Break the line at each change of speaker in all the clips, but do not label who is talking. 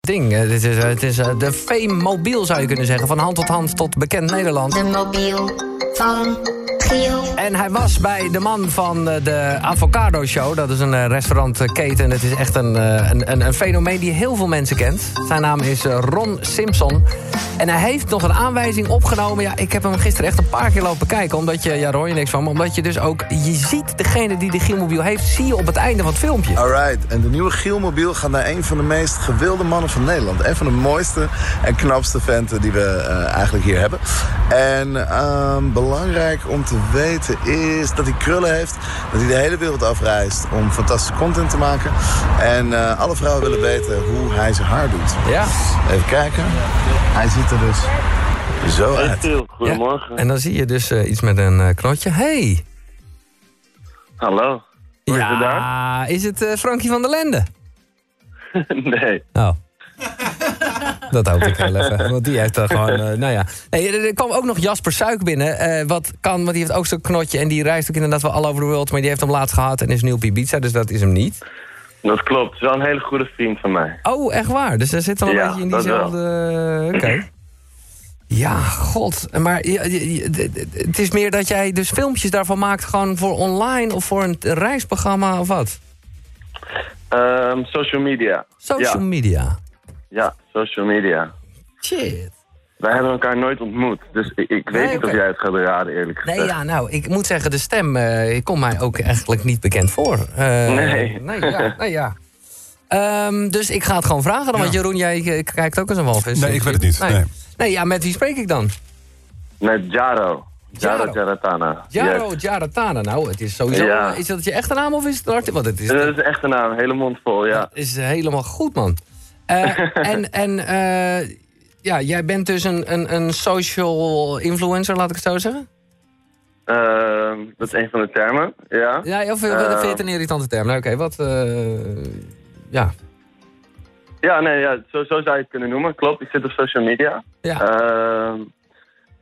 ding. Eh, dit is, eh, het is eh, de fame mobiel, zou je kunnen zeggen. Van hand tot hand tot bekend Nederland.
De mobiel van Giel.
En hij was bij de man van eh, de Avocado Show. Dat is een eh, restaurantketen. Het is echt een, eh, een, een, een fenomeen die heel veel mensen kent. Zijn naam is eh, Ron Simpson. En hij heeft nog een aanwijzing opgenomen. Ja, ik heb hem gisteren echt een paar keer lopen kijken. Omdat je, ja, daar hoor je niks van. Maar omdat je dus ook, je ziet degene die de Gielmobiel heeft... zie je op het einde van het filmpje.
Alright, en de nieuwe Gielmobiel gaat naar een van de meest gewilde mannen van Nederland. Een van de mooiste en knapste venten die we eh, eigenlijk hier hebben. En ehm, belangrijk om te weten is dat hij krullen heeft. Dat hij de hele wereld afreist om fantastische content te maken. En eh, alle vrouwen willen weten hoe hij zijn haar doet.
Ja.
Even kijken. Hij ziet er dus zo
Hey
uit.
Giel,
Ja,
goedemorgen.
En dan zie je dus eh, iets met een eh, knotje. Hey!
Hallo. Hoe is het daar?
Ja, is het eh, Frankie van der Lende?
Nee.
Oh. Dat hoop ik heel even. Want die heeft dan gewoon, eh, nou ja. Hey, er er kwam ook nog Jasper Suik binnen. eh, wat kan, want die heeft ook zo'n knotje. En die reist ook inderdaad wel all over the world. Maar die heeft hem laatst gehad en is nu op Ibiza. Dus dat is hem niet.
Dat klopt. Het is wel een hele goede vriend van mij.
Oh, echt waar? Dus hij zit dan een
Ja,
beetje in
dat wel.
diezelfde... eh, Oké. Ja, god. Maar je- je- je- d- d- het is meer dat jij dus filmpjes daarvan maakt... gewoon voor online of voor een reisprogramma of wat?
Ehm, social media.
Social
ja.
media.
ja, social media.
Shit.
Wij hebben elkaar nooit ontmoet. Dus ik, ik weet
Nee,
niet
oké.
of jij het gaat raden, eerlijk gezegd.
Nee, ja, nou, ik moet zeggen, de stem eh komt mij ook eigenlijk niet bekend voor. Eh,
Nee.
Nee, ja. Nee, ja. Ehm, dus ik ga het gewoon vragen dan, want Jeroen, jij eh, kijkt ook eens een walvis.
Nee, ik weet het niet, nee.
Nee, ja, met wie spreek ik dan?
Met Jaro.
Jaro.
Jaro Jaratana.
Jaro
Yes.
Jaratana. Nou, het is sowieso...
Ja. Eh.
Is dat je echte naam of is het een artiest? Want het is,
Dat is echt een naam, hele mond vol, ja.
het is helemaal goed, man. Eh, en en eh, ja, jij bent dus een, een, een social influencer, laat ik het zo zeggen?
Ehm, dat is een van de termen, ja.
Ja, of eh,
Eh.
vind je het een irritante term? Nou, Oké, wat... eh, ja.
Ja, nee, ja, zo, zo zou je het kunnen noemen. Klopt, ik zit op social media.
Ja.
Ehm,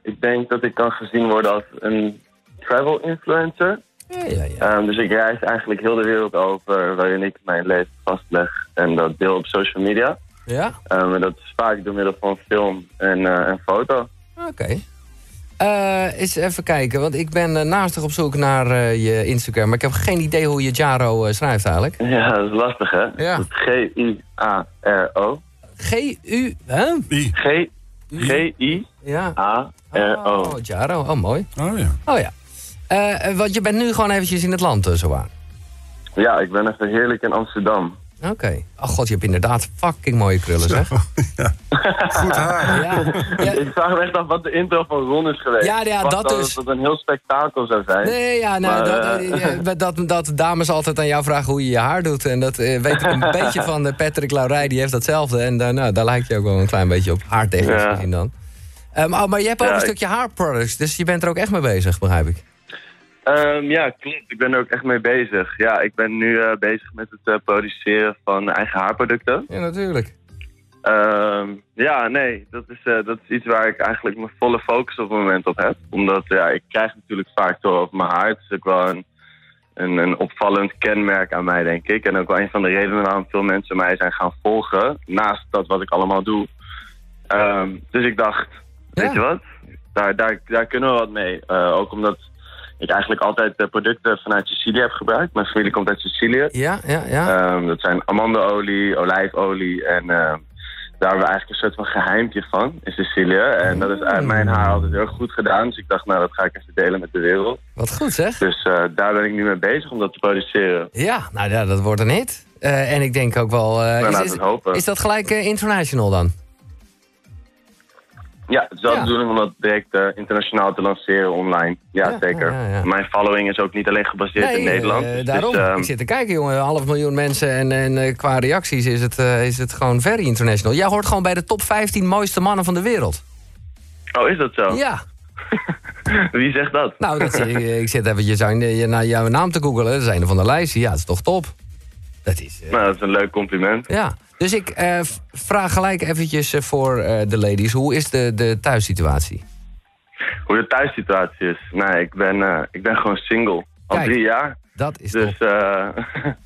ik denk dat ik kan gezien worden als een travel influencer.
Ja, ja, ja.
Ehm, dus ik reis eigenlijk heel de wereld over waarin ik mijn leven vastleg en dat deel op social media.
Ja?
Ehm, en dat is vaak door middel van film en, eh, en foto.
Oké. Eh, eens even kijken, want ik ben eh, naastig op zoek naar eh, je Instagram. Maar ik heb geen idee hoe je Jaro eh, schrijft eigenlijk.
Ja, dat is lastig hè?
Ja.
Dat is G-I-A-R-O.
G-U... Hè?
I.
G- G-I-A-R-O.
Ja. Oh, Jaro. Oh, mooi.
Oh ja.
Oh ja. Eh, eh, want je bent nu gewoon eventjes in het land, zo zowaar.
Ja, ik ben even heerlijk in Amsterdam.
Oké. Oh god, je hebt inderdaad fucking mooie krullen, zeg.
Goed haar.
Ja. ja.
Ik vraag me echt af wat de intro van Ron is geweest.
Ja, ja,
Ik dacht
dat
al
dus.
Dat het een heel spektakel zou zijn.
Nee, ja, nou,
Maar,
dat,
eh,
eh, eh, dat, dat dames altijd aan jou vragen hoe je je haar doet. En dat eh, weet ik een beetje van eh, Patrick Laurij, die heeft datzelfde. En daar, nou, daar lijkt je ook wel een klein beetje op haartechnisch
Ja.
gezien dan. Eh, maar, maar je hebt ook
Ja,
een
ik-
stukje haarproducts, dus je bent er ook echt mee bezig, begrijp ik.
Ehm, ja, klopt. Ik ben er ook echt mee bezig. Ja, ik ben nu eh, bezig met het eh, produceren van eigen haarproducten.
Ja, natuurlijk.
Ehm, ja, nee, dat is, eh, dat is iets waar ik eigenlijk mijn volle focus op het moment op heb. Omdat ja, ik krijg natuurlijk vaak door over mijn haar. Het is ook wel een, een, een opvallend kenmerk aan mij, denk ik. En ook wel een van de redenen waarom veel mensen mij zijn gaan volgen. Naast dat wat ik allemaal doe. Ehm, dus ik dacht,
Ja.
weet je wat? Daar, daar, daar kunnen we wat mee. Eh, ook omdat ik eigenlijk altijd de producten vanuit Sicilië heb gebruikt. Mijn familie komt uit Sicilië.
Ja, ja, ja.
Ehm, dat zijn amandelolie, olijfolie en ehm, daar hebben we eigenlijk een soort van geheimtje van in Sicilië. En dat is uit mijn haar altijd heel goed gedaan. Dus ik dacht, nou dat ga ik even delen met de wereld.
Wat goed zeg.
Dus eh, daar ben ik nu mee bezig om dat te produceren.
Ja, nou ja, dat wordt een hit. Eh, en ik denk ook wel... eh,
Nou,
is-
laten
is,
we het hopen.
is dat gelijk eh, international dan?
Ja, het is wel
Ja.
de bedoeling om dat direct eh, internationaal te lanceren online. Ja,
Ja,
zeker.
ja, ja, ja.
Mijn following is ook niet alleen gebaseerd in
eh,
Nederland. Dus het is,
daarom.
ehm,
ik zit te kijken, jongen. Een half miljoen mensen. En, en eh, qua reacties is het, eh, is het gewoon very international. Jij hoort gewoon bij de top 15 mooiste mannen van de wereld.
Oh, is dat zo?
Ja.
Wie zegt dat?
Nou, dat, ik, ik zit eventjes aan, je- naar jouw naam te googelen. Dat is een van de lijsten. Ja, dat is toch top. Dat is... eh,
Nou, dat is een leuk compliment.
ja. Dus ik eh, v- vraag gelijk eventjes eh, voor eh, de ladies. Hoe is de, de thuissituatie?
Hoe de thuissituatie is? Nou, Nee, ik ben, eh, ik ben gewoon single. Al
Kijk.
drie jaar.
Dat is
Dus
top.
eh,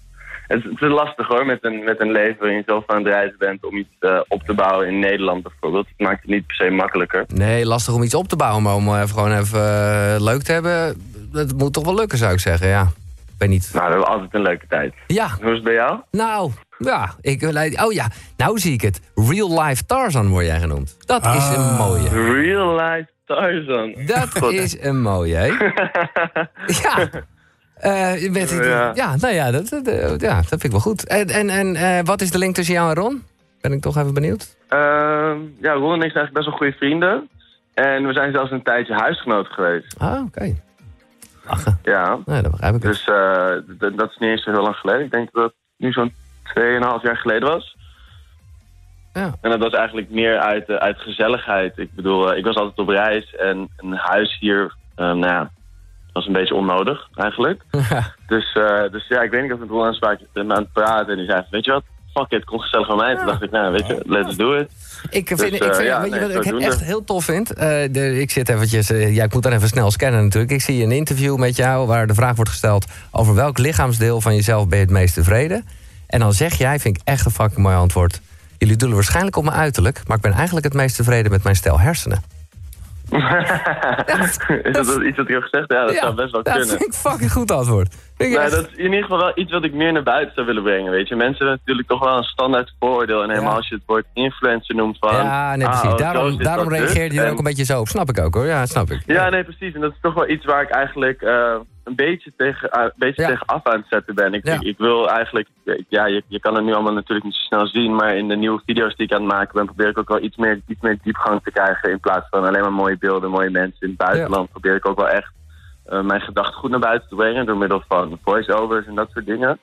het, het is lastig hoor, met een, met een leven waarin je zelf aan het reizen bent om iets eh, op te bouwen in Nederland bijvoorbeeld. Het maakt het niet per se makkelijker.
Nee, lastig om iets op te bouwen, maar om eh, even gewoon even eh, leuk te hebben... dat moet toch wel lukken, zou ik zeggen, ja. Ik weet niet.
Maar Nou, we hebben altijd een leuke tijd.
Ja,
Hoe is het bij jou?
nou, ja. Ik, oh ja, nou zie ik het. Real Life Tarzan word jij genoemd. Dat is een mooie.
Real life Tarzan.
Dat
God.
is een mooie, hè? ja. Eh, je bent- ja.
Ja.
nou ja dat, dat, eh, ja, dat vind ik wel goed. En, en, en eh, wat is de link tussen jou en Ron? Ben ik toch even benieuwd.
Ehm, ja, Ron en ik zijn eigenlijk best wel goede vrienden. En we zijn zelfs een tijdje huisgenoot geweest.
Ah, oké.
Ja.
Nou, dat begrijp ik.
Dus eh, d- dat is niet eens zo heel lang geleden. Ik denk dat het nu zo'n 2,5 jaar geleden was.
Ja.
En dat was eigenlijk meer uit, eh, uit gezelligheid. Ik bedoel, eh, ik was altijd op reis en een huis hier, eh, nou ja, was een beetje onnodig eigenlijk. Dus, eh, dus ja, ik weet niet of ik met Ron aan spraak- eh, aan het praten. En die zei, weet je wat, fuck it, kom gezellig bij mij. Toen dacht ik, nou weet je, let's do it.
Ik vind,
Dus,
ik
eh,
vind
ja,
weet je
nee,
wat ik
zodoende.
echt heel tof vind? Eh, de, ik zit eventjes, eh, ja, ik moet dan even snel scannen natuurlijk. Ik zie een interview met jou waar de vraag wordt gesteld... over welk lichaamsdeel van jezelf ben je het meest tevreden? En dan zeg jij, vind ik echt een fucking mooi antwoord... jullie doelen waarschijnlijk op mijn uiterlijk... maar ik ben eigenlijk het meest tevreden met mijn stel hersenen.
is dat,
dat-
iets wat ik heb gezegd? Ja, dat zou best wel
dat
kunnen.
vind ik fucking goed antwoord. Vind ik
Nou,
echt-
dat is in ieder geval wel iets wat ik meer naar buiten zou willen brengen, weet je. Mensen hebben natuurlijk toch wel een standaard vooroordeel. En helemaal als je het woord influencer noemt van...
ja, nee,
ah,
precies.
oh, zo
daarom
zit dat
daarom
dus.
reageerde je er
En-
ook een beetje zo op. Snap ik ook hoor, ja, snap ik.
Ja, nee, precies. En dat is toch wel iets waar ik eigenlijk eh, een beetje, tegen, ah, een beetje
Ja.
tegen af aan het zetten ben. Ik,
Ja.
ik, ik wil eigenlijk... ik- Ja, je, je kan het nu allemaal natuurlijk niet zo snel zien, maar in de nieuwe video's die ik aan het maken ben, probeer ik ook wel iets meer, iets meer diepgang te krijgen. In plaats van alleen maar mooie beelden, mooie mensen in het buitenland, probeer ik ook wel echt eh, mijn gedachten goed naar buiten te brengen door middel van voice-overs en dat soort dingen.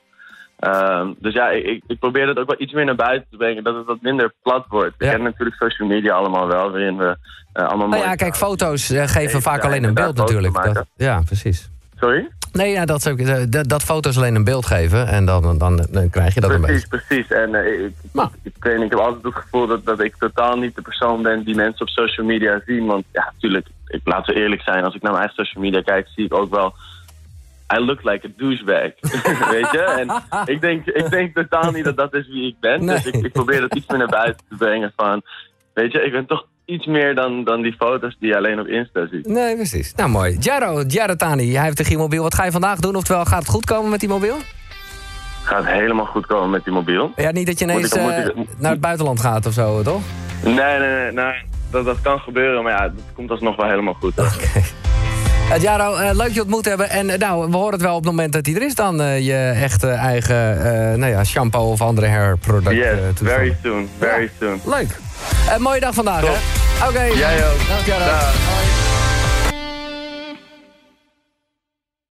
Ehm, dus ja, ik- ik, ik probeer dat ook wel iets meer naar buiten te brengen, dat het wat minder plat wordt. We
Ja.
kennen natuurlijk social media allemaal wel, waarin we eh, allemaal
Nou
mooie
ja, kijk, foto's eh, geven
Even
vaak
daar
alleen een beeld
inderdaad foto's
natuurlijk. Dat,
maken.
ja, precies.
Sorry?
Nee, ja, dat, zou ik- eh, dat, dat foto's alleen een beeld geven en dan, dan, dan, krijg je dat een
Precies,
beetje.
precies. En eh, ik, ik-
Maar.
ik, weet niet, ik heb altijd het gevoel dat, dat ik totaal niet de persoon ben die mensen op social media zien. Want ja, natuurlijk, ik, laten we eerlijk zijn, als ik naar mijn eigen social media kijk, zie ik ook wel. I look like a douchebag. weet je? En ik denk, ik denk totaal niet dat dat is wie ik ben. Dus
Nee.
ik, ik probeer dat iets meer naar buiten te brengen van. Weet je, ik ben toch iets meer dan, dan die foto's die je alleen op Insta ziet.
Nee, precies. Nou, mooi. Jaro, Jarotani, hij heeft de G-mobiel. Wat ga je vandaag doen? Oftewel, gaat het goed komen met die mobiel?
Gaat helemaal goed komen met die mobiel.
Ja, niet dat je ineens
Moet ik- moet
eh,
ik-
naar het buitenland gaat of zo, toch?
Nee, nee, nee. nee, dat, dat kan gebeuren, maar ja, dat komt alsnog wel helemaal goed. hoor.
Eh, Jaro, eh, leuk je ontmoet hebben. En eh, nou, we horen het wel op het moment dat hij er is dan eh, je echte eigen eh, nou ja, shampoo of andere hairproduct eh,
Yes,
toestanden.
very soon, very
Ja.
soon.
Leuk. Eh, mooie dag vandaag,
Top.
hè? Oké.
Jij ook.
Dank Jaro.
Dag.
Hoi.